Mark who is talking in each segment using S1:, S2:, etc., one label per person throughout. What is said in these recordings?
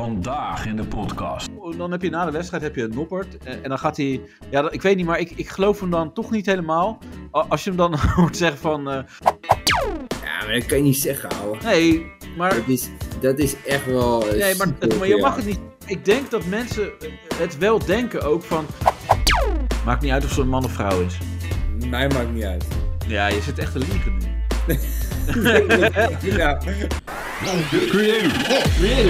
S1: Vandaag in de podcast.
S2: Oh, Dan heb je na de wedstrijd heb je Noppert. eh, En, en dan gaat hij. Ja, dat- ik weet niet, maar ik, ik geloof hem dan toch niet helemaal. A- Als je hem dan hoort zeggen van. eh,
S3: Ja, maar dat kan je niet zeggen, ouwe.
S2: nee, maar.
S3: Dat is, dat is echt wel... eh,
S2: Nee, maar,
S3: super,
S2: maar je
S3: ja.
S2: mag het niet. Ik denk dat mensen eh, het wel denken ook van. Maakt niet uit of ze een man of vrouw is.
S3: Mij maakt niet uit.
S2: Ja, je zit echt te liegen nu.
S3: ja.
S1: Creative.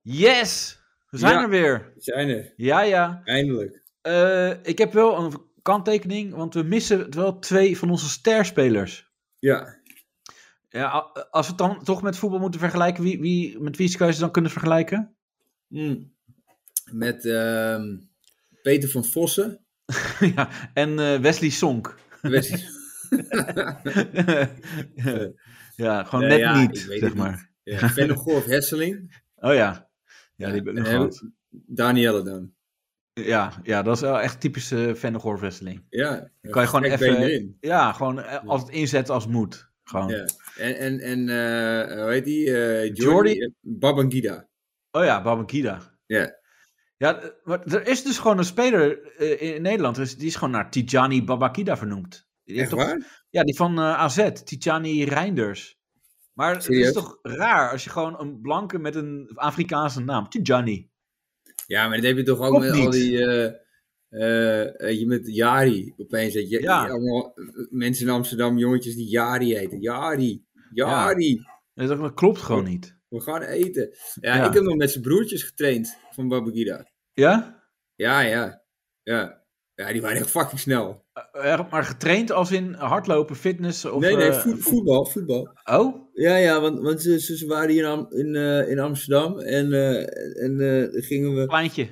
S2: Yes! We zijn
S3: Ja.
S2: er weer.
S3: We zijn er.
S2: Ja, ja.
S3: Eindelijk.
S2: Eh, ik heb wel een kanttekening, want we missen het wel twee van onze sterspelers.
S3: Ja.
S2: Ja, a- als we het dan toch met voetbal moeten vergelijken, wie, wie, met wie zou je ze dan kunnen vergelijken? Hmm.
S3: Met ehm, Peter van Vossen.
S2: ja, en eh, Wesley Sonk.
S3: West-
S2: ja, gewoon
S3: Nee,
S2: net
S3: ja,
S2: niet,
S3: ik weet
S2: zeg
S3: het
S2: maar.
S3: ja, Vennegorf Hesseling.
S2: Oh ja. Ja, die heb ik nog
S3: en
S2: gehad.
S3: Danielle dan.
S2: Ja, ja, dat is wel echt typische Van wrestling.
S3: Ja.
S2: Kan je gewoon
S3: Kijk, ben je
S2: even...
S3: erin.
S2: Ja, gewoon eh, als het inzet als moet. Gewoon.
S3: Ja. En, en, en eh, hoe heet die? eh Jordi.
S2: Jordi?
S3: eh, Babangida.
S2: Oh ja, Babakida.
S3: Ja.
S2: Ja, eh, maar er is dus gewoon een speler eh, in- in Nederland, dus die is gewoon naar Tijani Babakida vernoemd. Die heeft
S3: Echt
S2: toch-
S3: waar?
S2: Ja, die van eh, AZ, Tijani Reinders. Maar het is
S3: Serieus?
S2: toch raar als je gewoon een blanke met een Afrikaanse naam, Tijani.
S3: Ja, maar dat heb je toch ook
S2: Klopt
S3: met al
S2: niet.
S3: die... eh, eh, eh, je met Jari opeens. Dat je,
S2: Ja.
S3: je allemaal eh, mensen in Amsterdam, jongetjes die Jari heten. Jari. Jari.
S2: Dat dat klopt gewoon niet.
S3: We gaan eten. Ja,
S2: Ja.
S3: ik heb nog met zijn broertjes getraind van Babagida.
S2: Ja?
S3: Ja, ja. Ja. Ja, die waren echt fucking snel.
S2: Eh, Maar getraind als in hardlopen, fitness of...
S3: nee, nee,
S2: eh,
S3: voet- voetbal, voetbal.
S2: Oh?
S3: Ja, ja, want, want ze, ze ze waren hier in, Am- in, eh, in Amsterdam en, eh, en eh, gingen we...
S2: Pleintje.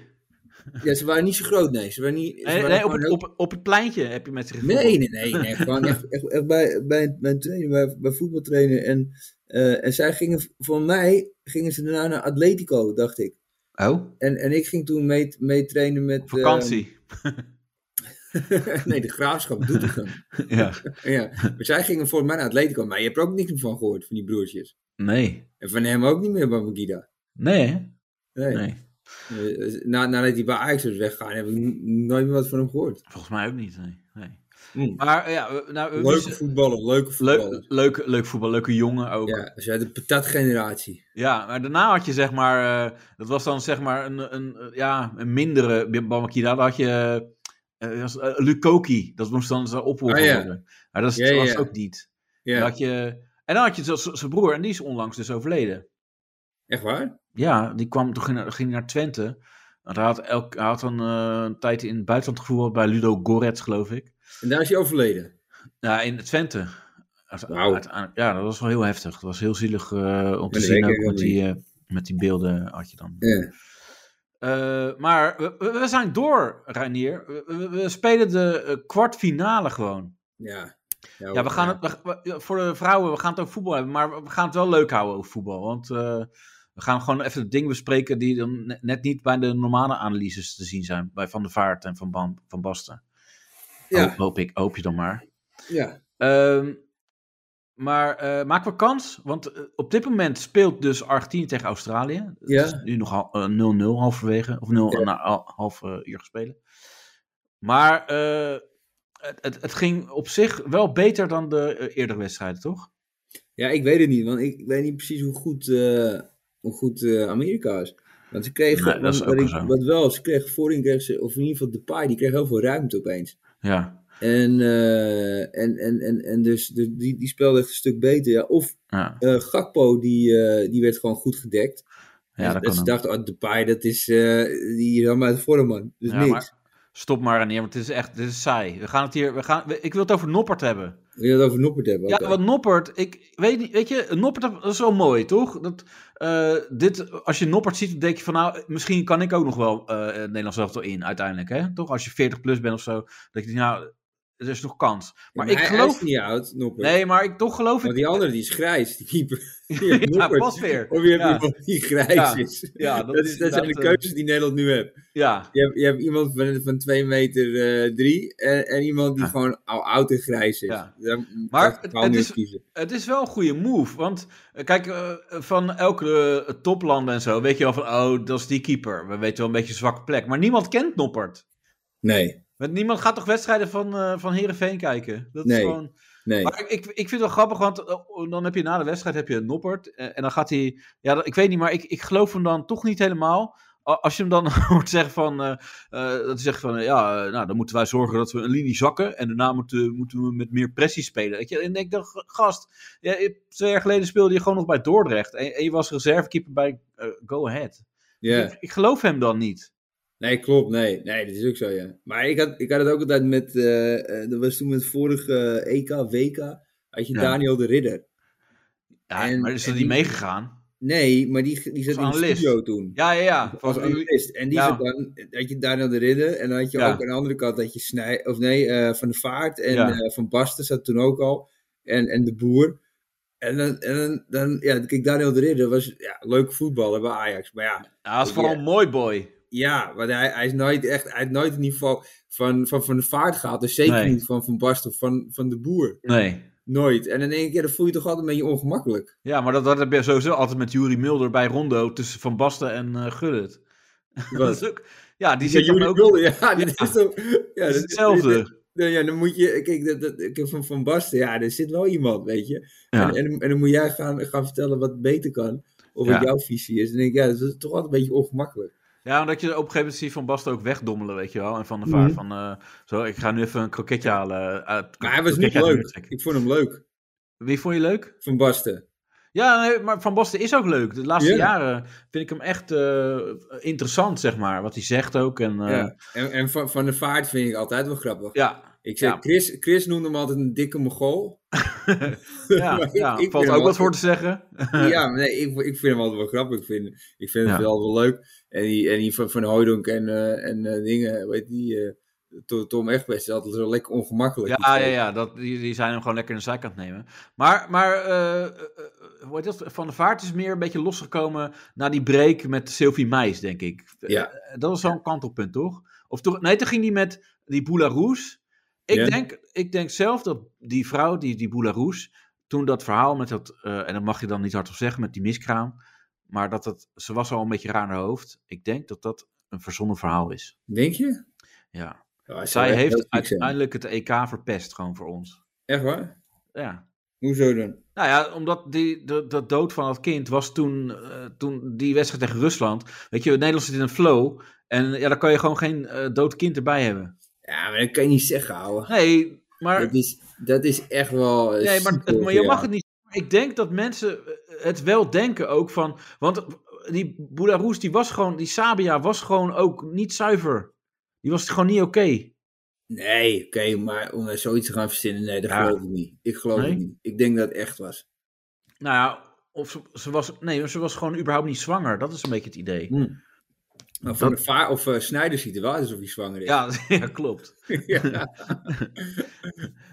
S3: Ja, ze waren niet zo groot, nee. Ze waren niet... ze
S2: Nee,
S3: waren
S2: nee op,
S3: gewoon
S2: het,
S3: heel-
S2: op, op het pleintje heb je met ze gevoetbald.
S3: Nee, nee, nee. nee gewoon echt, echt, echt bij, bij mijn trainer, bij, bij voetbaltrainer. En, eh, en zij gingen, van mij gingen ze daarna naar Atletico, dacht ik.
S2: Oh?
S3: En, en ik ging toen mee, mee trainen met... eh,
S2: Vakantie.
S3: nee, de graafschap doet het dan.
S2: ja.
S3: Ja, maar zij gingen volgens mij naar Atletico, maar je hebt er ook niks meer van gehoord, van die broertjes.
S2: Nee.
S3: En van hem ook niet meer, Babangida.
S2: Nee, hè?
S3: Nee.
S2: Nee.
S3: Eh, na, nadat hij bij Ajax is weggegaan, heb ik n- nooit meer wat van hem gehoord.
S2: Volgens mij ook niet, nee. nee.
S3: Mm.
S2: Maar eh, ja, we- nou, we
S3: Leuke
S2: missen-
S3: voetballer, leuke voetballer.
S2: leuk, leuk, leuk voetbal, leuke jongen ook. Ja.
S3: Ja, ze uit de patatgeneratie.
S2: maar daarna had je zeg maar, eh, dat was dan zeg maar een, een, eh, ja, een mindere Bamakida. Dan had je eh, eh, was, eh, Lukoki, dat moest dan zijn opvolger
S3: Ah, ja.
S2: worden. Maar dat is,
S3: Ja, ja,
S2: was
S3: ja.
S2: ook niet. Dan
S3: Ja,
S2: had je, en dan had je z- z- zijn broer, en die is onlangs dus overleden.
S3: echt waar?
S2: Ja, die kwam, toen ging, hij- ging hij naar Twente. Want hij had, elk, hij had dan, eh, een tijd in het buitenland gevoerd bij Ludo Goretz, geloof ik.
S3: En daar is hij overleden.
S2: Ja, in Twente. Uit-
S3: Wauw.
S2: uit- aan- Ja, dat was wel heel heftig. Dat was heel zielig eh, om te
S3: dat
S2: zien.
S3: weet ik
S2: Ook
S3: helemaal
S2: met, die, eh, met die beelden had je dan.
S3: Ja.
S2: Eh, maar we, we- we zijn door, Reinier. We, we- we spelen de eh, kwartfinale gewoon.
S3: Oh, Ja,
S2: Ja, we gaan het, we- we- voor de vrouwen, we gaan het over voetbal hebben. Maar we gaan het wel leuk houden over voetbal. Want eh, we gaan gewoon even het ding bespreken die dan ne- net niet bij de normale analyses te zien zijn. Bij Van der Vaart en Van, Ban- van Basten. Hoop,
S3: Ja,
S2: hoop ik, hoop je dan maar.
S3: ja.
S2: Ehm, maar eh, maken we kans? Want eh, op dit moment speelt dus Argentinië tegen Australië. Het
S3: Ja.
S2: is nu nog hal- eh, 0-0 halverwege. Of 0 na al- half eh, uur gespeeld. Maar eh, het, het, het ging op zich wel beter dan de eh, eerdere wedstrijden, toch?
S3: ja, ik weet het niet, want ik weet niet precies hoe goed, eh, hoe goed eh, Amerika is. Want ze kregen,
S2: Nee, dat is
S3: want-
S2: ook
S3: wat,
S2: wel
S3: ik-
S2: zo.
S3: wat wel, ze kregen voorin, kregen ze, of in ieder geval Depay, die kreeg heel veel ruimte opeens.
S2: Ja.
S3: En, eh, en, en, en, en dus de- die, die speelde echt een stuk beter. Ja. Of
S2: Ja,
S3: eh, Gakpo, die, eh, die werd gewoon goed gedekt.
S2: ja
S3: Dus
S2: dat
S3: dat ze
S2: kan ook.
S3: dachten, oh, Depay, dat is, eh, die is helemaal uit de vorm, man. Dus
S2: Ja,
S3: niks.
S2: maar stop maar neer, want het is echt dit is saai. We gaan het hier, we gaan, we- ik wil het over Noppert hebben.
S3: Wil je het over Noppert hebben? eh,
S2: Ja,
S3: Oké.
S2: want Noppert, ik weet niet, weet je, Noppert dat is wel mooi, toch? Dat, eh, dit, als je Noppert ziet, dan denk je van nou, misschien kan ik ook nog wel eh, het Nederlands elftal in uiteindelijk, hè? Toch? Als je 40 plus bent of zo, dat je denkt, nou, Er is nog kans. Maar,
S3: Maar
S2: ik
S3: hij- hij
S2: geloof...
S3: is niet oud, Noppert.
S2: Nee, maar ik, toch geloof ik...
S3: Want die andere die is grijs, die keeper. Die heeft
S2: Ja,
S3: Noppert.
S2: pas weer.
S3: Of je hebt
S2: Ja.
S3: iemand die grijs
S2: Ja.
S3: is.
S2: Ja, dat
S3: dat,
S2: is
S3: is, dat zijn de
S2: inderdaad, eh,
S3: keuzes die Nederland nu heeft.
S2: Ja,
S3: Je hebt, je hebt iemand van, van 2 meter 3 en, en iemand die
S2: Ja.
S3: gewoon al oud en grijs is.
S2: Ja.
S3: Dan
S2: Maar
S3: kan ik
S2: het-
S3: wel
S2: het
S3: nu
S2: is-
S3: kiezen.
S2: het is wel een goede move. Want eh, kijk, eh, van elke eh, topland en zo weet je wel van... Oh, dat is die keeper. We weten wel een beetje een zwakke plek. Maar niemand kent Noppert.
S3: Nee,
S2: Want niemand gaat toch wedstrijden van, eh van Heerenveen kijken? Dat is
S3: Nee.
S2: gewoon...
S3: nee.
S2: Maar ik, ik vind het wel grappig, want eh, dan heb je na de wedstrijd heb je Noppert. eh, En dan gaat hij. Ja, dat- ik weet niet, maar ik, ik geloof hem dan toch niet helemaal. A- Als je hem dan hoort zeggen van. eh, eh, dat hij zegt van. eh, ja, eh, nou, dan moeten wij zorgen dat we een linie zakken. En daarna moeten, moeten we met meer pressie spelen. Weet je, En ik denk dan, g- gast. Ja, je- twee jaar geleden speelde je gewoon nog bij Dordrecht. En, en je was reservekeeper bij eh, Go Ahead.
S3: Ja.
S2: Ik, ik geloof hem dan niet.
S3: Nee, klopt. Nee, nee, dat is ook zo, ja. Maar ik had, ik had het ook altijd met... eh, eh, dat was toen met vorige eh, E EK, WK... had je
S2: Ja.
S3: Daniel de Ridder.
S2: Ja,
S3: En-
S2: maar is
S3: en
S2: dat niet
S3: die-
S2: meegegaan?
S3: Nee, maar die, die zat
S2: Als
S3: in de
S2: analist.
S3: studio toen.
S2: Ja, ja, ja.
S3: Als
S2: Van-
S3: analist. En die
S2: Ja.
S3: zat dan... had je Daniel de Ridder... en dan had je
S2: Ja.
S3: ook aan de andere kant... dat je Snij... of nee, eh, Van de Vaart en
S2: Ja.
S3: eh, Van Basten zat toen ook al. En, en De Boer. En dan... En dan, dan ja, kijk, Daniel de Ridder was... Ja, leuk voetballer bij Ajax. Maar ja...
S2: ja, dat is vooral een mooi boy.
S3: Ja, want hij, hij is nooit echt, hij heeft nooit het niveau van, van, van de vaart gehad. Dus zeker
S2: Nee.
S3: niet van Van Basten of van, van de boer.
S2: Nee.
S3: Nooit. En in één keer dan voel je je toch altijd een beetje ongemakkelijk.
S2: Ja, maar dat, dat heb je sowieso altijd met Jury Mulder bij Rondo tussen Van Basten en eh Gullit. Dat is ook, ja, die zit
S3: Ja,
S2: dan
S3: Joeri
S2: ook...
S3: Mulder, ja, dit
S2: Ja.
S3: is toch... Ja,
S2: dat is
S3: dat-
S2: hetzelfde.
S3: Ja, Nou ja, dan moet je... Kijk, dat, dat, kijk, van, van Basten, ja, er zit wel iemand, weet je. En,
S2: Ja.
S3: en, en dan moet jij gaan, gaan vertellen wat beter kan. Of
S2: Ja.
S3: wat jouw visie is. En dan denk ik, ja, dat is toch altijd een beetje ongemakkelijk.
S2: ja, omdat je op een gegeven moment ziet Van Basten ook wegdommelen, weet je wel. En Van de Vaart
S3: Mhm.
S2: van, eh, zo, ik ga nu even een kroketje halen. eh, uit-
S3: Maar hij was niet
S2: kroketje uit de
S3: leuk.
S2: muur trekken.
S3: Ik vond hem leuk,
S2: Wie vond je leuk?
S3: Van Basten.
S2: Ja, nee, maar Van Basten is ook leuk. De laatste
S3: Ja.
S2: jaren vind ik hem echt eh, interessant, zeg maar. Wat hij zegt ook. En, eh, ja.
S3: ja. En, en van, van de vaart vind ik altijd wel grappig. Ik zeg,
S2: Ja.
S3: Chris, Chris noemde hem altijd een dikke Mongool.
S2: ja,
S3: Maar ik-
S2: ja,
S3: ik vind
S2: valt
S3: hem
S2: ook wat
S3: altijd-
S2: voor te zeggen.
S3: ja, maar nee, ik, ik vind hem altijd wel grappig. Ik vind, ik vind het
S2: Ja.
S3: wel, wel leuk. En die, en die van, van Hooydonk en, eh, en eh, dingen, weet die, eh, To- Tom Egbers, is altijd zo lekker ongemakkelijk.
S2: Ja, ja, ja dat, die, die zijn hem gewoon lekker in de zijkant nemen. Maar, maar eh, eh, eh, hoe heet dat? Van de Vaart is meer een beetje losgekomen na die break met Sylvie Meis, denk ik.
S3: Ja.
S2: Eh, Dat was zo'n kantelpunt, toch? Of toch? Nee, toen ging die met die Boularoes. Ik,
S3: Ja.
S2: denk, ik denk zelf dat die vrouw, die, die Boularoes, toen dat verhaal met dat, eh, en dat mag je dan niet hardop zeggen, met die miskraam. Maar dat dat, ze was al een beetje raar naar hoofd. Ik denk dat dat een verzonnen verhaal is.
S3: Denk je?
S2: Ja.
S3: Ja, hij zou
S2: Zij
S3: echt heel
S2: heeft
S3: ziek zijn.
S2: uiteindelijk het EK verpest, gewoon voor ons.
S3: Echt waar?
S2: Ja.
S3: Hoezo dan?
S2: Nou ja, omdat die, de, de dood van dat kind was toen, eh, toen die wedstrijd tegen Rusland. Weet je, Nederland zit in een flow. En ja, dan kan je gewoon geen eh, dood kind erbij hebben.
S3: Ja, maar dat kan je niet zeggen, ouwe.
S2: Nee, maar,
S3: Dat is, dat is echt wel... eh,
S2: nee, maar,
S3: ziek,
S2: het- maar je
S3: ja.
S2: mag het niet. Maar Ik denk dat mensen eh, het wel denken ook van. Want die Boularoes, die was gewoon. Die Sabia was gewoon ook niet zuiver. Die was gewoon niet oké.
S3: Nee, oké, maar om er zoiets te gaan verzinnen, nee, dat
S2: Ja.
S3: geloof ik niet. Ik geloof
S2: Nee?
S3: het niet. Ik denk dat het echt was.
S2: Nou ja, of ze, ze was. Nee, ze was gewoon überhaupt niet zwanger. Dat is een beetje het idee.
S3: Maar van de vaar, of eh Snijders ziet er wel uit alsof hij zwanger is.
S2: Ja, ja klopt.
S3: Ja.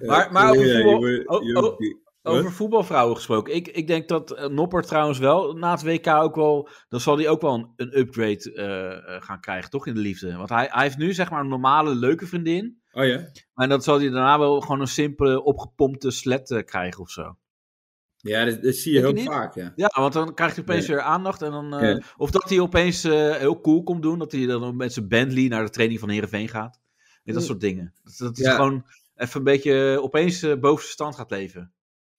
S2: Maar- maar over
S3: Ja,
S2: voetbal-
S3: je wordt-
S2: oh,
S3: je wordt- Wat?
S2: Over voetbalvrouwen gesproken. Ik, ik denk dat eh, Noppert trouwens wel na het WK ook wel. Dan zal hij ook wel een, een upgrade eh, eh, gaan krijgen, toch? In de liefde. Want hij, hij heeft nu zeg maar een normale, leuke vriendin.
S3: Oh ja?
S2: Maar dan zal hij daarna wel gewoon een simpele, opgepompte slet eh, krijgen of zo.
S3: Ja, dat, dat zie je
S2: Denk je
S3: heel
S2: niet?
S3: vaak, ja.
S2: Ja, want dan krijgt hij opeens
S3: Nee.
S2: weer aandacht. En dan, eh,
S3: Ja.
S2: Of dat hij opeens eh, heel cool komt doen. Dat hij dan met zijn Bentley naar de training van Herenveen gaat. En dat
S3: Mm.
S2: soort dingen. Dat, dat is
S3: Ja.
S2: gewoon even een beetje eh, opeens eh, boven zijn stand gaat leven.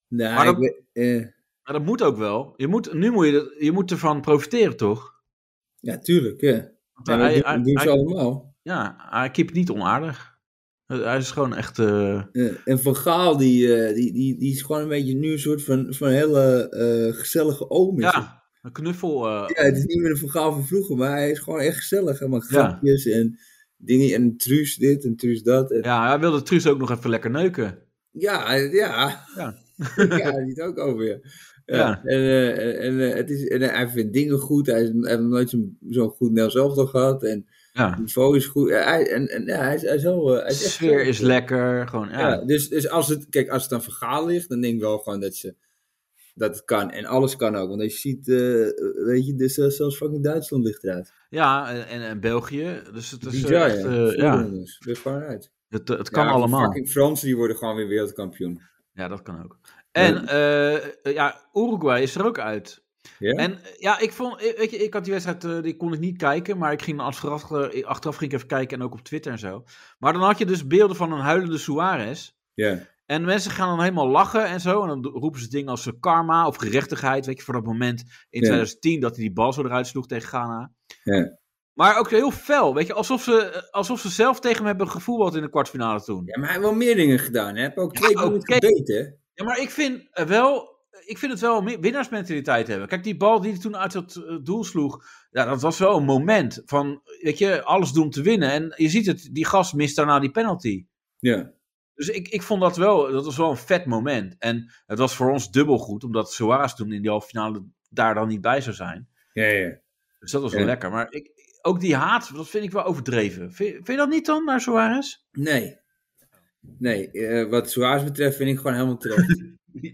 S3: Nee,
S2: Maar dat-
S3: ik weet- eh,
S2: Maar dat moet ook wel. Je moet, nu moet je, dat- je moet ervan profiteren, toch?
S3: ja, tuurlijk, ja.
S2: Want
S3: Ja,
S2: hij,
S3: dat
S2: hij-
S3: doen- doen ze
S2: hij-
S3: allemaal.
S2: ja, hij keept niet onaardig. Eh, Hij is gewoon echt... eh,
S3: Ja, En Van Gaal, die, eh, die, die, die is gewoon een beetje nu een soort van, van hele eh, gezellige oom. is het.
S2: ja, een knuffel. eh,
S3: ja, het is niet meer de Van Gaal van vroeger, maar hij is gewoon echt gezellig. En maakt
S2: Ja.
S3: grapjes en dingen. En truus dit en truus dat. En,
S2: ja, hij wilde Truus ook nog even lekker neuken.
S3: Ja, ja.
S2: Ja.
S3: ja, daar ziet ook over je. Ja.
S2: Ja.
S3: En, eh, en, eh, het is, en hij vindt dingen goed. Hij, is- hij heeft nooit zo'n zo'n goed Nels Elftal gehad. En,
S2: Ja.
S3: Het niveau is goed. Ja, hij, en, en, ja, hij, is, hij is wel, eh, hij
S2: De
S3: is echt-
S2: sfeer is lekker. Gewoon, ja.
S3: Ja, dus, dus als het, kijk, als het aan vergaal ligt, dan denk ik wel gewoon dat ze dat het kan. En alles kan ook. Want als je ziet, eh, weet je, dus, eh, zelfs fucking Duitsland ligt eruit.
S2: Ja, en, en, en België. Dus het is
S3: Bizar,
S2: echt,
S3: ja.
S2: eh,
S3: Voetbal,
S2: ja,
S3: jongens. Ligt gewoon uit.
S2: het, het kan
S3: Ja,
S2: allemaal.
S3: Fucking Fransen, die worden gewoon weer wereldkampioen.
S2: Ja, dat kan ook. En eh, ja, Uruguay is er ook uit.
S3: Ja?
S2: En eh, ja, ik vond, eh, weet je, ik had die wedstrijd, eh, die kon ik niet kijken, maar ik ging dan achteraf, eh, achteraf ging ik even kijken en ook op Twitter en zo. Maar dan had je dus beelden van een huilende Suarez.
S3: Ja.
S2: En mensen gaan dan helemaal lachen en zo. En dan do- roepen ze dingen als eh, karma of gerechtigheid. Weet je, voor dat moment in
S3: Ja.
S2: 2010 dat hij die bal zo eruit sloeg tegen Ghana.
S3: Ja.
S2: Maar ook heel fel. Weet je, alsof ze, eh, alsof ze zelf tegen hem hebben gevoetbald in de kwartfinale toen.
S3: ja, maar hij heeft wel meer dingen gedaan. Hij heeft ook twee
S2: Ja,
S3: keer
S2: oké.
S3: gebeten. hè?
S2: Ja, maar ik vind eh, wel. Ik vind het wel meer winnaarsmentaliteit hebben. Kijk, die bal die hij toen uit dat eh, doel sloeg. Ja, dat was wel een moment van. Weet je, alles doen om te winnen. En je ziet het, die gast mist daarna die penalty.
S3: Ja.
S2: Dus ik, ik vond dat wel. Dat was wel een vet moment. En het was voor ons dubbel goed, omdat Suarez toen in die halve finale daar dan niet bij zou zijn.
S3: Ja, ja.
S2: Dus dat was wel
S3: Ja.
S2: lekker. Maar ik, ook die haat, dat vind ik wel overdreven. Vind, vind je dat niet dan, naar Suarez?
S3: Nee. Nee, eh, wat Suarez betreft vind ik gewoon helemaal terecht.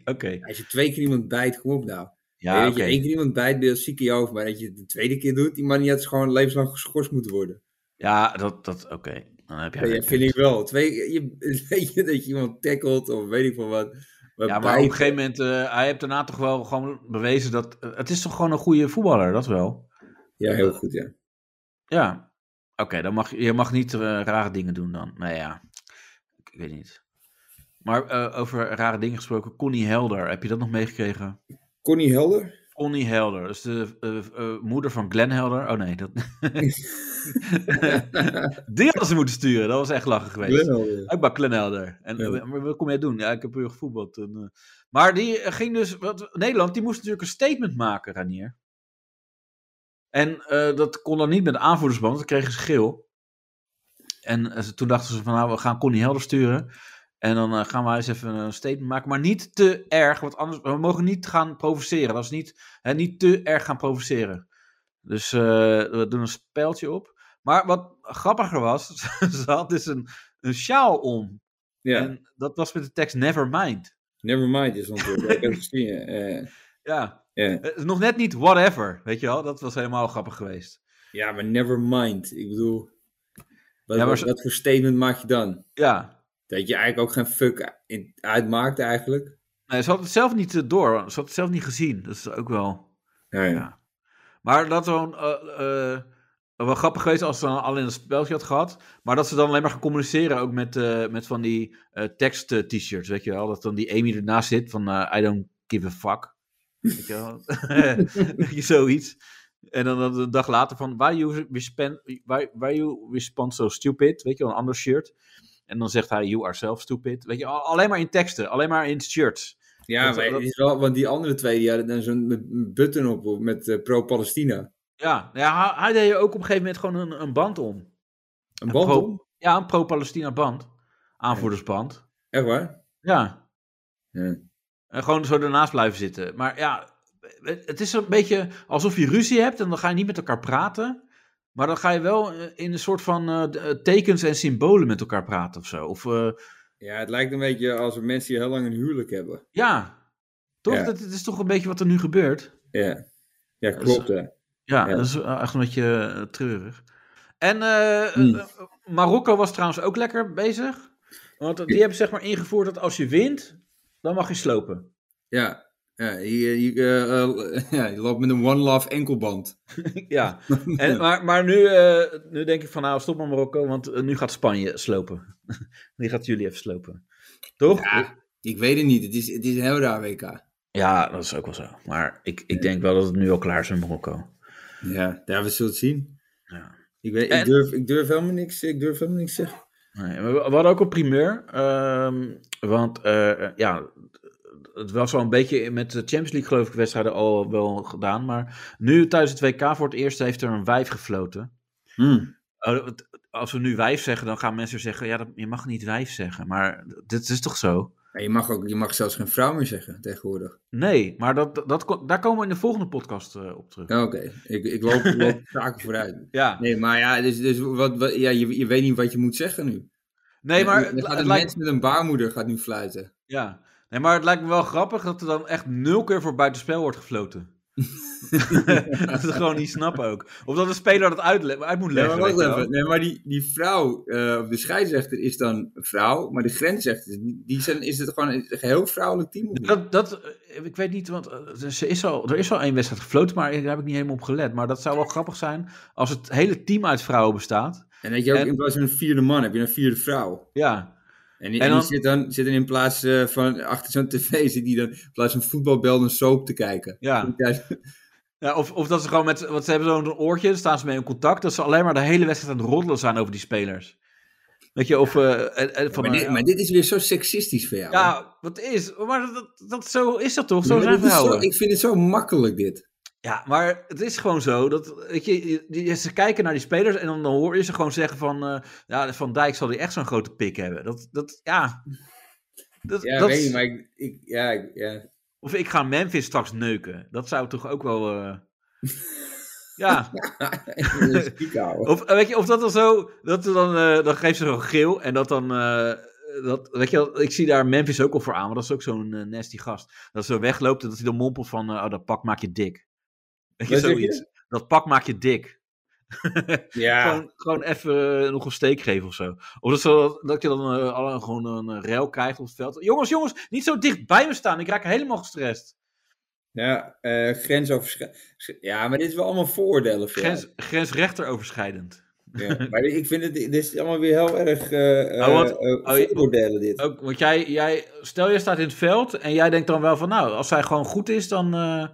S2: Oké.
S3: Als je twee keer iemand bijt, kom op nou.
S2: Ja,
S3: dat
S2: oké.
S3: je één keer iemand bijt, ben je ziek in je hoofd. Maar dat je het de tweede keer doet, die man die had gewoon levenslang geschorst moeten worden.
S2: Ja, dat, dat oké. Dan heb jij
S3: Ja,
S2: weer een
S3: vind ik wel. Twee, je, weet je, dat je iemand tackelt of weet ik veel wat.
S2: Ja,
S3: Maar
S2: maar op
S3: bijten-
S2: een gegeven moment, eh, hij heeft daarna toch wel gewoon bewezen dat... eh, het is toch gewoon een goede voetballer, dat wel.
S3: ja heel goed, ja.
S2: Ja. Oké, dan mag je je mag niet eh, rare dingen doen dan. Nou ja, ik, ik weet niet. Maar eh, over rare dingen gesproken, Connie Helder, heb je dat nog meegekregen?
S3: Connie Helder?
S2: Connie Helder, dus de eh, eh, moeder van Glenn Helder. Oh nee, dat... Die hadden ze moeten sturen, dat was echt lachen geweest.
S3: Glenn Helder.
S2: Ook bij Klenelder. En
S3: Ja.
S2: eh, maar wat kom jij doen? Ja, ik heb heel gevoetbald. En, eh, maar die eh, ging dus... Wat, Nederland, die moest natuurlijk een statement maken, Ranier. En eh, dat kon dan niet met de aanvoerdersband. want Dan kregen ze geel. En eh, ze- toen dachten ze van, nou, we gaan Connie Helder sturen. En dan eh, gaan wij eens even een statement maken. Maar niet te erg, want anders... We mogen niet gaan provoceren. Dat is niet, hè, niet te erg gaan provoceren. Dus eh, we doen een speldje op. Maar wat grappiger was, ze had dus een, een sjaal om.
S3: Ja,
S2: En dat was met de tekst Nevermind.
S3: Nevermind is ontwerp. ik heb het gezien, ja. Eh,
S2: Ja.
S3: ja.
S2: Eh, Nog net niet whatever, weet je wel? Dat was helemaal grappig geweest.
S3: ja, maar Nevermind. Ik bedoel,
S2: Ja,
S3: wat,
S2: maar
S3: wat-
S2: zo-
S3: wat voor statement maak je dan?
S2: Ja.
S3: Dat je eigenlijk ook geen fuck in- uitmaakt eigenlijk?
S2: Nee, ze had het zelf niet eh, door, ze had het zelf niet gezien. Dat is ook wel.
S3: Ja,
S2: Ja. Maar dat gewoon. eh, eh, wel grappig geweest als ze dan alleen een speltje had gehad. Maar dat ze dan alleen maar gaan communiceren. Ook met, eh, met van die eh, tekst-t-shirts. Weet je wel? Dat dan die Amy ernaast zit van. eh, I don't give a fuck. Weet je wel? Weet je, Zoiets. En dan, dan een dag later van. Why you, respond, why, why you respond so stupid? Weet je wel? Een ander shirt. En dan zegt hij. You are self stupid. Weet je al- Alleen maar in teksten. Alleen maar in shirts.
S3: Ja,
S2: Dat-
S3: maar
S2: dat-
S3: het is wel, want die andere twee die hadden dan zo'n met- button op met eh, pro-Palestina.
S2: Ja, ja hij, hij deed er ook op een gegeven moment gewoon een, een band om.
S3: Een band
S2: pro-
S3: om?
S2: Ja, een pro-Palestina band. Aanvoerdersband.
S3: Echt waar?
S2: Ja.
S3: Ja.
S2: En gewoon zo ernaast blijven zitten. Maar ja, het is een beetje alsof je ruzie hebt en dan ga je niet met elkaar praten. Maar dan ga je wel eh, in een soort van eh, de- eh, tekens en symbolen met elkaar praten of zo. Of eh,
S3: Ja, het lijkt een beetje alsof mensen die heel lang een huwelijk hebben.
S2: ja, toch?
S3: Ja.
S2: Dat, dat is toch een beetje wat er nu gebeurt.
S3: Ja, ja
S2: is-
S3: klopt hè.
S2: Ja,
S3: Ja.
S2: dat is eh, echt een beetje eh, treurig. En eh,
S3: Hmm.
S2: eh, Marokko was trouwens ook lekker bezig. Want die hebben zeg maar ingevoerd dat als je wint, dan mag je slopen.
S3: Ja, ja je, je, eh, eh, ja, je loopt met een One Love enkelband.
S2: ja, en, maar, maar nu, eh, nu denk ik van nou stop maar Marokko, want eh, nu gaat Spanje slopen. die gaat jullie even slopen. Toch? Ja,
S3: Ja, ik weet het niet. Het is, het is een heel raar WK.
S2: dat is ook wel zo. Maar ik, ik denk wel dat het nu al klaar is met Marokko.
S3: Ja, daar we zullen het zien.
S2: Ja.
S3: Ik, weet,
S2: En-
S3: ik, durf, ik durf helemaal niks, ik durf helemaal niks zeggen.
S2: Nee, we, we hadden ook een primeur. ehm, want eh, ja, het was al een beetje met de Champions League geloof ik wedstrijden al wel gedaan. Maar nu tijdens het WK voor het eerst heeft er een wijf gefloten. Oh, het- Als we nu wijf zeggen, dan gaan mensen zeggen, ja, dat, je mag niet wijf zeggen. Maar dit is toch zo?
S3: Maar je mag, ook, je mag zelfs geen vrouw meer zeggen tegenwoordig.
S2: Nee, maar dat, dat, ko- daar komen we in de volgende podcast eh, op terug.
S3: Oké, ik, ik loop, ik loop zaken vooruit.
S2: Ja,
S3: Nee, maar ja, dus, dus wat, wat, ja je, je weet niet wat je moet zeggen nu.
S2: nee, maar
S3: Er
S2: het,
S3: gaat
S2: het
S3: een
S2: lijkt,
S3: mens met een baarmoeder gaat nu fluiten.
S2: ja. nee, maar het lijkt me wel grappig dat er dan echt nul keer voor buitenspel wordt gefloten. dat ze het gewoon niet snappen ook. Of dat een speler dat uit, uit moet
S3: Nee,
S2: leggen.
S3: maar
S2: weet
S3: wacht
S2: je wel.
S3: even. Nee, maar die, die vrouw, eh, of de scheidsrechter is dan een vrouw, maar de grensrechter, die zijn, is het gewoon een geheel vrouwelijk team? of niet?
S2: Dat, dat, eh, ik weet niet, want eh, ze is al, er is al één wedstrijd gefloten, maar daar heb ik niet helemaal op gelet. Maar dat zou wel grappig zijn als het hele team uit vrouwen bestaat.
S3: En dat je ook
S2: En-
S3: in plaats van een vierde man heb je een vierde vrouw.
S2: Ja,
S3: En die,
S2: En
S3: en die
S2: dan-
S3: zit, dan, zit dan in plaats eh, van achter zo'n tv, zit die dan in plaats van voetbalbel een soap te kijken.
S2: ja. ja of, of dat ze gewoon met, want ze hebben zo'n oortje, daar staan ze mee in contact, dat ze alleen maar de hele wedstrijd aan het roddelen zijn over die spelers. Weet je, of... eh, en- en van,
S3: maar, dit,
S2: eh,
S3: maar dit is weer zo seksistisch voor jou. hè?
S2: ja, wat is, maar dat, dat, zo is dat toch? Zo
S3: Maar
S2: zijn
S3: dit is
S2: vrouwen.
S3: ik vind het zo makkelijk dit.
S2: Ja, maar het is gewoon zo dat weet je, je- die- ze kijken naar die spelers en dan, dan hoor je ze gewoon zeggen van, eh, ja, Van Dijk zal die echt zo'n grote pik hebben. Dat, dat, ja. Dat,
S3: Ja,
S2: dat,
S3: weet je, maar ik, ik- ja, ik- ja.
S2: Of ik ga Memphis straks neuken. Dat zou toch ook wel. eh, ja.
S3: Ik wil het ziek houden.
S2: Of eh, weet je, of dat dan zo, dat er dan, eh, dan geeft ze zo'n geel en dat dan. eh, dat, weet je, wel, ik zie daar Memphis ook al voor aan, want dat is ook zo'n eh, nasty gast. Dat zo wegloopt en dat hij dan mompelt van, eh, oh, dat pak maak je dik. Weet je,
S3: Wat zeg je?
S2: zoiets. Dat pak maak je dik. Oh,
S3: Ja.
S2: Gewoon, gewoon even eh, nog een steek geven of zo. Of dat, zo, dat je dan eh, alle, gewoon een eh, rel krijgt op het veld. Jongens, jongens, niet zo dicht bij me staan. Ik raak helemaal gestrest.
S3: Ja, eh grensoverschrijdend. Ja, maar dit is wel allemaal vooroordelen voor
S2: Grens, grensrechter overschrijdend.
S3: jou. Ja. Maar ik vind het, dit is allemaal weer heel erg eh
S2: Oh, wat-
S3: eh, eh,
S2: oh, je-
S3: vooroordelen dit.
S2: Ook, want jij, jij, stel je staat in het veld en jij denkt dan wel van, nou, als zij gewoon goed is, dan, eh,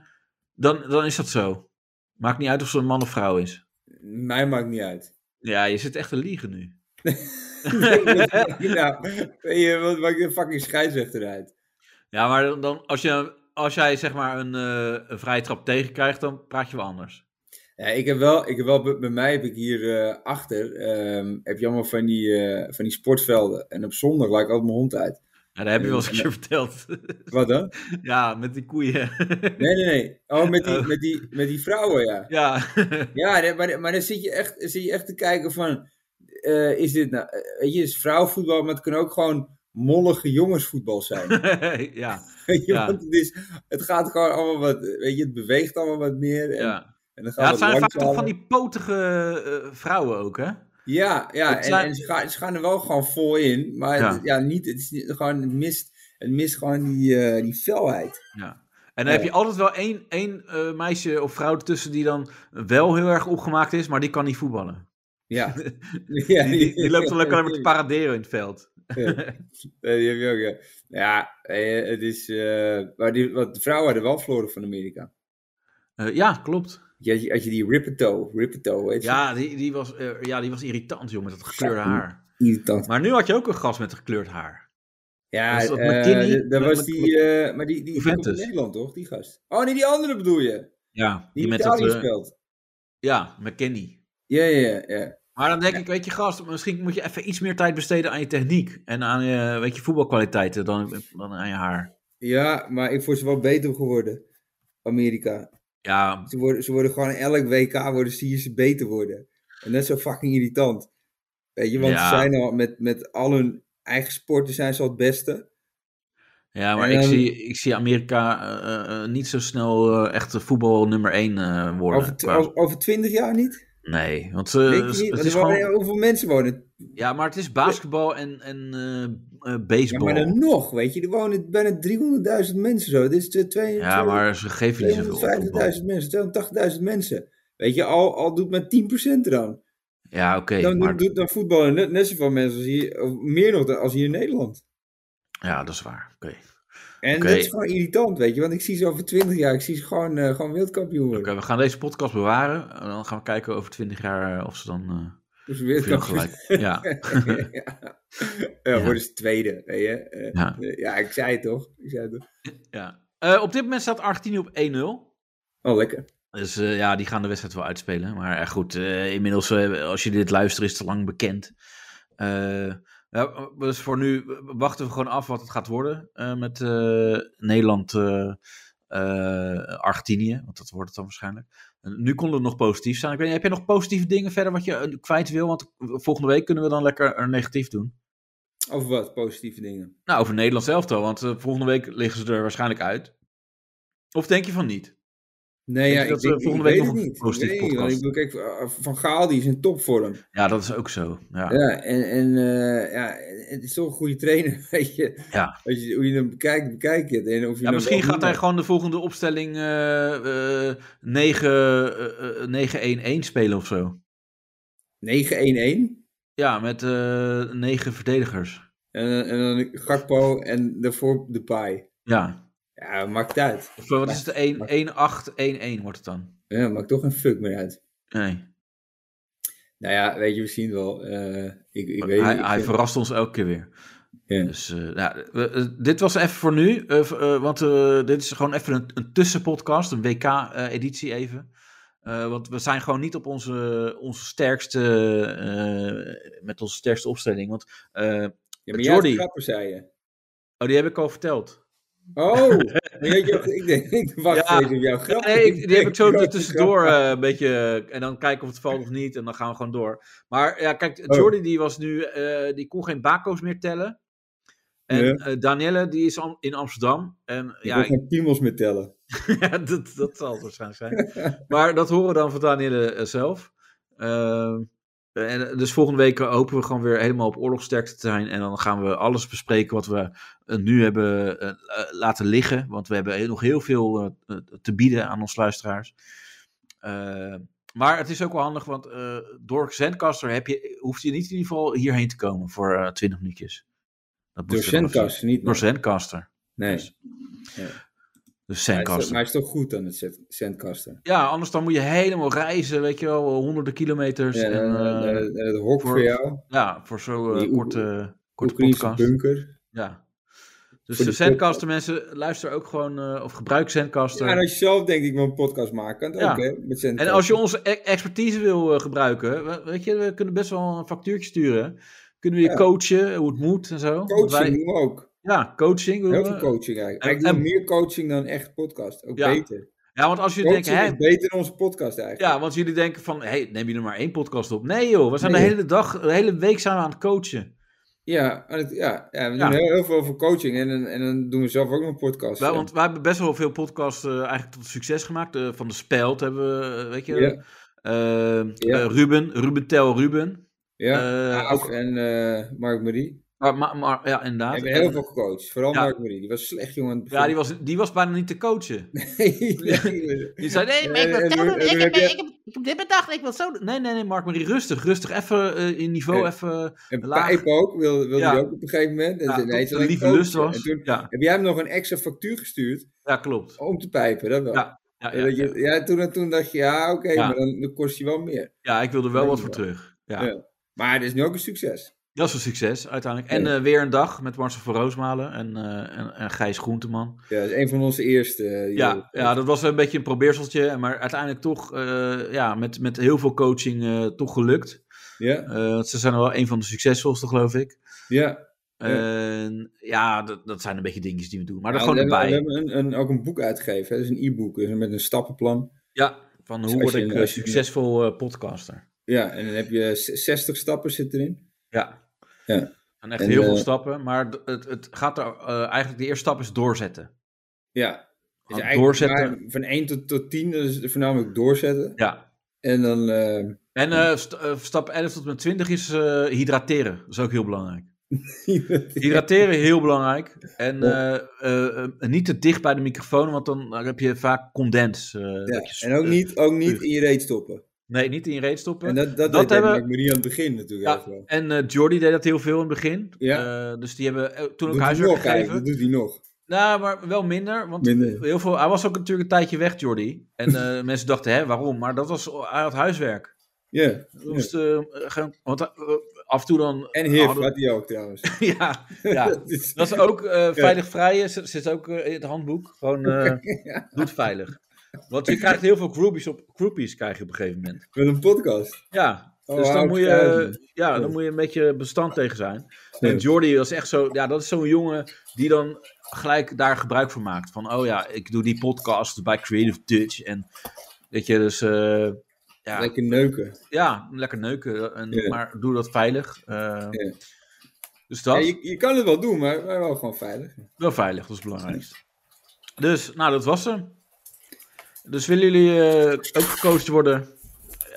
S2: dan, dan is dat zo. Maakt niet uit of ze een man of vrouw is.
S3: Mij maakt niet uit.
S2: Ja, je zit echt te liegen nu.
S3: ja, weet je, wat maakt de fucking scheidsrechter uit?
S2: Ja, maar dan, dan- als, je, als jij zeg maar een, eh, een vrije trap tegenkrijgt, dan praat je wel anders.
S3: Ja, ik heb wel, ik heb wel bij, bij mij heb ik hier eh, achter, ehm, heb je allemaal van die, eh, van die sportvelden. En op zondag laat ik altijd mijn hond uit.
S2: Ja, dat heb je wel eens een keer verteld.
S3: Wat dan?
S2: Ja, met die koeien.
S3: Nee, nee, nee. Oh, met die,
S2: Oh.
S3: met die, met die vrouwen, ja.
S2: ja.
S3: Ja, nee, maar, maar dan zit je echt, dan zit je echt te kijken van, eh, is dit nou, eh, weet je, is vrouwenvoetbal, maar het kan ook gewoon mollige jongensvoetbal zijn.
S2: ja,
S3: weet je,
S2: Ja.
S3: want het, is, het gaat gewoon allemaal wat, weet je, het beweegt allemaal wat meer. En,
S2: ja.
S3: en dan gaat
S2: ja, het
S3: het
S2: zijn vaak toch
S3: langzamer.
S2: van die potige eh, vrouwen ook, hè?
S3: Ja, ja,
S2: het
S3: en,
S2: zijn-
S3: en ze, gaan, ze gaan er wel gewoon vol in, maar
S2: Ja.
S3: ja, ja niet, het is niet, gewoon, het mist, het mist gewoon die, eh, die felheid.
S2: Ja. En dan heb
S3: Ja.
S2: je altijd wel één, één eh, meisje of vrouw tussen die dan wel heel erg opgemaakt is, maar die kan niet voetballen.
S3: Ja.
S2: Die, die, die loopt dan ook alleen maar te paraderen in het veld.
S3: Ja, die heb je ook, ja. Ja, eh, het is... eh, maar die, want de vrouwen hadden wel verloren van Amerika.
S2: Eh, ja, klopt.
S3: Je had, je, had je die Rippeto, Rippeto, weet je?
S2: Ja die, die was, eh, ja, die was irritant, joh, met dat gekleurde
S3: Ja.
S2: haar.
S3: Irritant.
S2: Maar nu had je ook een gast met gekleurd haar.
S3: Ja,
S2: Was dat
S3: eh,
S2: McKinney?
S3: dat- dat
S2: Met-
S3: was
S2: met-
S3: die... eh, maar die, die, die komt in
S2: Juventus.
S3: Nederland, toch? Die gast. Oh, nee, die andere bedoel je?
S2: Ja,
S3: Die,
S2: die met dat...
S3: Italië
S2: eh,
S3: speelt.
S2: ja, McKinney.
S3: Ja, ja, ja.
S2: Maar dan denk ik, weet je gast, misschien moet je even iets meer tijd besteden aan je techniek. En aan je, weet je, voetbalkwaliteiten dan, dan aan je haar.
S3: Ja, maar ik vond ze wel beter geworden. Amerika.
S2: Ja,
S3: Ze worden, ze worden gewoon elk WK worden, zie je ze beter worden. En dat is zo fucking irritant. Weet je, want
S2: Ja.
S3: ze zijn al met, met al hun eigen sporten zijn ze al het beste.
S2: ja maar
S3: En,
S2: ik,
S3: ehm,
S2: zie, ik zie Amerika eh, eh, niet zo snel eh, echt de voetbal nummer 1 worden.
S3: Over, tw-
S2: qua-
S3: over, over 20 jaar niet?
S2: nee, want
S3: Denk
S2: eh
S3: je
S2: het
S3: niet? Want
S2: is
S3: er wonen
S2: gewoon...
S3: heel veel mensen wonen.
S2: Ja, maar het is basketbal en, en eh, eh,
S3: Ja,
S2: baseball.
S3: maar
S2: Ja,
S3: dan nog, weet je, er wonen bijna 300.000 mensen zo. Dit is de twee-
S2: maar ze geven niet zoveel op voetbal.
S3: 250.000 mensen, 280.000 mensen. Weet je, al, al doet maar 10% eraan.
S2: Ja, oké.
S3: dan
S2: maar,
S3: doet dan voetballen net, net zoveel mensen als hier, of meer nog dan als hier in Nederland.
S2: ja, dat is waar. Oké,
S3: En
S2: Oké.
S3: dat is gewoon irritant, weet je. Want ik zie ze over 20 jaar, ik zie ze gewoon, eh, gewoon wereldkampioen worden.
S2: Oké, we gaan deze podcast bewaren. En dan gaan we kijken over 20 jaar eh, of ze dan... eh,
S3: Dus
S2: veel
S3: wereldkampioen.
S2: gelijk. Ja.
S3: ja, ja.
S2: Ja.
S3: worden ze tweede, weet je. Eh,
S2: Ja.
S3: eh, ja, ik zei het toch. Ik zei het toch.
S2: Ja. Eh, op dit moment staat Argentinië op 1-0.
S3: Oh, lekker.
S2: Dus eh, ja, die gaan de wedstrijd wel uitspelen. Maar eh, goed, eh, inmiddels, eh, als je dit luistert, is het al lang bekend. Eh, Ja, dus voor nu wachten we gewoon af wat het gaat worden eh, met eh, Nederland, eh, eh, Argentinië. Want dat wordt het dan waarschijnlijk. En nu kon het nog positief zijn. Ik weet, niet, heb je nog positieve dingen verder wat je eh, kwijt wil? Want volgende week kunnen we dan lekker een negatief doen.
S3: Of wat, positieve dingen.
S2: Nou, over Nederland zelf dan. Want eh, volgende week liggen ze er waarschijnlijk uit. Of denk je van niet?
S3: Nee,
S2: Denk
S3: ja,
S2: je
S3: ik,
S2: dat we
S3: denk, ik
S2: volgende
S3: weet
S2: week
S3: het
S2: nog een
S3: niet.
S2: positieve
S3: Ik weet niet, want ik
S2: podcast?
S3: bedoel, kijk, eh, Van Gaal die is in topvorm.
S2: Ja, dat is ook zo. Ja.
S3: Ja, en, en eh, ja, het is toch een goede trainer, weet je.
S2: Ja.
S3: Als je hoe je hem bekijkt, bekijk je het. En of je
S2: Ja,
S3: hem
S2: misschien
S3: wel
S2: gaat hij
S3: noemt.
S2: gewoon de volgende opstelling eh, eh, 9 eh, eh, 9-1-1 spelen of zo.
S3: 9-1-1.
S2: Ja, met eh, negen verdedigers.
S3: En, en dan Gakpo en daarvoor de paai.
S2: Ja.
S3: Ja, maakt uit.
S2: Of eh, wat is het? 1-8-1-1 wordt het dan.
S3: Ja, maakt toch geen fuck meer uit.
S2: Nee.
S3: Nou ja, weet je, we zien wel. Eh, ik, ik weet
S2: Hij,
S3: ik
S2: hij
S3: vind-
S2: verrast ons elke keer weer.
S3: Ja.
S2: Dus eh, ja, we- eh, dit was even voor nu. eh, v- eh, want eh, dit is gewoon even een, een tussenpodcast, een WK-editie even. Eh, want we zijn gewoon niet op onze, onze sterkste, eh, met onze sterkste opstelling. Want, eh,
S3: Ja, maar jij had
S2: Jordi.
S3: grappen, zei je.
S2: oh, die heb ik al verteld.
S3: Oh, weet je, ik denk, ik wacht
S2: Ja.
S3: even op jouw grap.
S2: Nee, ik, die heb ik zo
S3: Grote
S2: er tussendoor
S3: grap.
S2: eh, een beetje. eh, en dan kijken of het valt of niet. En dan gaan we gewoon door. Maar ja, kijk,
S3: Oh.
S2: Jordi die was nu. eh, die kon geen bako's meer tellen. En
S3: Ja.
S2: eh, Danielle die is am- in Amsterdam. En
S3: Ik
S2: ja,
S3: wil geen piemels meer tellen.
S2: ja, dat, dat zal het waarschijnlijk zijn. Maar dat horen we dan van Danielle eh, zelf. Ehm, en, dus volgende week hopen we gewoon weer helemaal op oorlogsterkte te zijn. En dan gaan we alles bespreken wat we eh, nu hebben eh, eh, laten liggen. Want we hebben heel- nog heel veel eh, eh, te bieden aan ons luisteraars. Ehm, maar het is ook wel handig, want eh, door Zencaster heb je, hoeft je niet in ieder geval hierheen te komen voor eh 20 minuutjes. Dat moet
S3: Door
S2: je wel even-
S3: Zencast, niet
S2: Door
S3: meer.
S2: Zencaster.
S3: Nee.
S2: Dus Dus
S3: Hij is eh, toch-
S2: Zencaster.
S3: Maar hij is toch goed aan het zendkasten.
S2: Ja, anders dan moet je helemaal reizen, weet je wel, honderden kilometers.
S3: Ja,
S2: en, eh,
S3: het hok voor,
S2: voor-
S3: jou.
S2: ja, voor zo'n eh,
S3: Die Oek-
S2: korte, korte
S3: Oekraïnse
S2: podcast.
S3: bunker.
S2: Ja. Dus
S3: Voor
S2: de
S3: die
S2: Zencaster mensen, luister ook gewoon, eh, of gebruik Zencaster.
S3: Ja, en als je zelf denkt, ik wil een podcast maken, kan het
S2: Ja.
S3: ook, hè? Met
S2: en als je onze e- expertise wil eh, gebruiken, we- weet je, we kunnen best wel een factuurtje sturen. Kunnen we je
S3: Ja.
S2: coachen, hoe het moet en zo. Want
S3: Coaching
S2: wij-
S3: doen we ook.
S2: ja, coaching.
S3: Heel
S2: doen
S3: veel
S2: we.
S3: coaching eigenlijk. Ik
S2: en-
S3: doe
S2: en-
S3: meer coaching dan echt podcast. Ook
S2: Ja.
S3: beter.
S2: Ja, want als je denkt,
S3: Coaching
S2: hè,
S3: is beter dan onze podcast eigenlijk.
S2: ja, want jullie denken van, hey, neem je er maar één podcast op. Nee joh, we zijn
S3: Nee.
S2: de hele dag, de hele week zijn we aan het coachen.
S3: Ja, en het- ja, ja we
S2: Ja.
S3: doen heel, heel veel over coaching en, en, en dan doen we zelf ook nog een podcast.
S2: Ja, want wij hebben best wel veel podcasts eh, eigenlijk tot succes gemaakt. Eh, van de Speld hebben we, eh, weet je.
S3: Ja.
S2: eh,
S3: Ja.
S2: eh, Ruben, Ruben Tel Ruben.
S3: ja.
S2: eh,
S3: Aaf
S2: ook-
S3: en eh, Mark Marie.
S2: Maar, maar, maar- ja, inderdaad.
S3: hebben heel
S2: En-
S3: veel gecoacht. Vooral
S2: Ja.
S3: Mark Marie. Die was slecht, jongen.
S2: Ja, die was, die was bijna niet te coachen.
S3: nee,
S2: Die zei, nee, maar ik
S3: En-
S2: wil zo
S3: en-
S2: doen.
S3: en-
S2: Ik heb,
S3: heb je-
S2: ik, heb, ik heb dit bedacht, ik wil het zo doen. Nee, nee, nee, Mark Marie, rustig, rustig. Even eh, in niveau,
S3: Ja.
S2: even...
S3: en
S2: laag.
S3: Pijp ook. Wil, wilde
S2: Ja.
S3: die ook op een gegeven moment. En
S2: Ja,
S3: zei, nee,
S2: tot
S3: het is
S2: de
S3: alleen
S2: lieve
S3: coachen.
S2: lust was.
S3: En toen
S2: Ja,
S3: heb jij hem nog een extra factuur gestuurd
S2: ja, klopt.
S3: om te pijpen. Dat wel.
S2: Ja, Ja,
S3: En
S2: ja,
S3: dat je-
S2: ja.
S3: ja. toen, toen dacht je, ja, oké,
S2: Ja.
S3: maar dan, dan kost hij wel meer.
S2: Ja, ik wilde wel wat voor terug. Ja.
S3: Ja. Maar het is nu ook een succes.
S2: Dat is een succes, uiteindelijk. En
S3: Ja.
S2: eh, weer een dag met Marcel van Roosmalen en, eh, en, en Gijs Groenteman.
S3: Ja, dat is een van onze eerste. eh, die-
S2: Ja, ja, dat was een beetje een probeerseltje. en Maar uiteindelijk toch eh, ja, met, met heel veel coaching eh, toch gelukt.
S3: ja,
S2: Eh, want ze zijn wel een van de succesvolste, geloof ik.
S3: ja. Ja.
S2: En ja, dat, dat zijn een beetje dingetjes die we doen. Maar dat
S3: Ja,
S2: gewoon
S3: we hebben,
S2: erbij.
S3: we hebben een, een- ook een boek uitgegeven. hè. Dat is een e-book dus met een stappenplan.
S2: Ja, van
S3: Dus
S2: hoe
S3: als
S2: word
S3: je-
S2: ik eh,
S3: als je-
S2: succesvol eh, podcaster.
S3: Ja, en dan heb je z- 60 stappen zit erin.
S2: Ja.
S3: Ja.
S2: En echt
S3: En,
S2: heel
S3: eh,
S2: veel stappen. Maar d- het, het gaat er eh, eigenlijk, de eerste stap is doorzetten.
S3: Ja. Dus
S2: Gewoon
S3: eigenlijk
S2: doorzetten.
S3: maar van 1 tot, tot 10, dat is voornamelijk doorzetten.
S2: Ja.
S3: En dan, eh,
S2: En eh, st- eh, stap 11 tot en met 20 is eh, hydrateren. Dat is ook heel belangrijk. Hydrateren heel belangrijk. En eh, eh, eh, niet te dicht bij de microfoon, want dan heb je vaak condens. eh,
S3: ja.
S2: dat je- eh,
S3: en ook niet, ook niet
S2: puur.
S3: in je reet stoppen.
S2: Nee, niet in je reet stoppen.
S3: En
S2: En,
S3: dat, dat,
S2: Dat
S3: dat
S2: hebben-
S3: hebben we aan het begin natuurlijk.
S2: Ja,
S3: heel veel.
S2: eh, Jordi deed dat heel veel in het begin.
S3: Ja.
S2: Eh, dus die hebben eh, toen
S3: Doet
S2: ook
S3: hij
S2: huiswerk
S3: nog eigenlijk,
S2: gegeven.
S3: dat doet hij nog.
S2: Nou, maar wel minder. Want
S3: Minder.
S2: heel veel, hij was ook natuurlijk een tijdje weg, Jordi. En eh, mensen dachten, hè, waarom? Maar dat was, eh, hij had huiswerk.
S3: Ja.
S2: Hij Moest, eh, gewoon- want eh, af en toe dan...
S3: En Hif
S2: hadden-
S3: had hij ook trouwens. Dus
S2: ja, Nou, ja,
S3: Dat is-
S2: Dat is ook eh, veilig vrij, zit, zit ook eh, in het handboek. Gewoon eh, doe het veilig. Want je krijgt heel veel groupies op, groupies krijg je op een gegeven moment.
S3: Met een podcast.
S2: Ja, dus
S3: wauw,
S2: dan moet,
S3: kijk.
S2: je, ja,
S3: Ja.
S2: dan moet je een beetje bestand tegen zijn.
S3: Ja.
S2: En Jordi was echt zo, ja, dat is zo'n jongen die dan gelijk daar gebruik van maakt. Van, oh ja, ik doe die podcast bij Creative Dutch. En weet je, dus eh, ja,
S3: Lekker neuken.
S2: ja, lekker neuken. En,
S3: Ja.
S2: Maar doe dat veilig. eh,
S3: Ja.
S2: Dus
S3: Ja,
S2: dat,
S3: je, je kan het wel doen, maar, maar wel gewoon veilig.
S2: wel veilig, dat is het belangrijkste. Dus, nou, dat was hem. Dus willen jullie eh, ook gecoacht worden?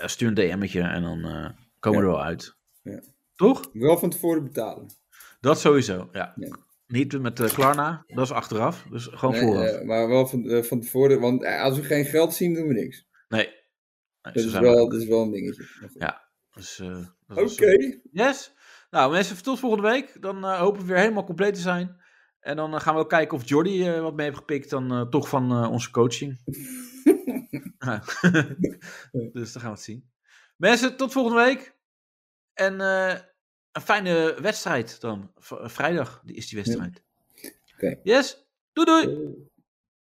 S2: Ja, stuur een DM'tje en dan eh, komen we
S3: Ja.
S2: er wel uit.
S3: Ja.
S2: Toch?
S3: Wel van tevoren betalen.
S2: Dat sowieso, ja.
S3: Ja.
S2: Niet met eh, Klarna, dat is achteraf. Dus gewoon
S3: Nee,
S2: vooraf.
S3: eh, maar wel van, eh, van tevoren, want eh, als we geen geld zien, doen we niks.
S2: nee. nee
S3: Dat
S2: zo
S3: is
S2: zijn we
S3: wel,
S2: ook.
S3: dat is wel een dingetje. Maar goed.
S2: Ja. Dus, eh, dat
S3: Oké.
S2: was- Yes. Nou mensen, tot volgende week. Dan eh, hopen we weer helemaal compleet te zijn. En dan eh, gaan we ook kijken of Jordi eh, wat mee heeft gepikt dan eh, toch van eh, onze coaching. Ja. dus dan gaan we het zien. Mensen, tot volgende week. En eh, een fijne eh, wedstrijd dan. V- vrijdag die is die wedstrijd.
S3: Oké.
S2: Yes. Doei doei.
S3: Oké.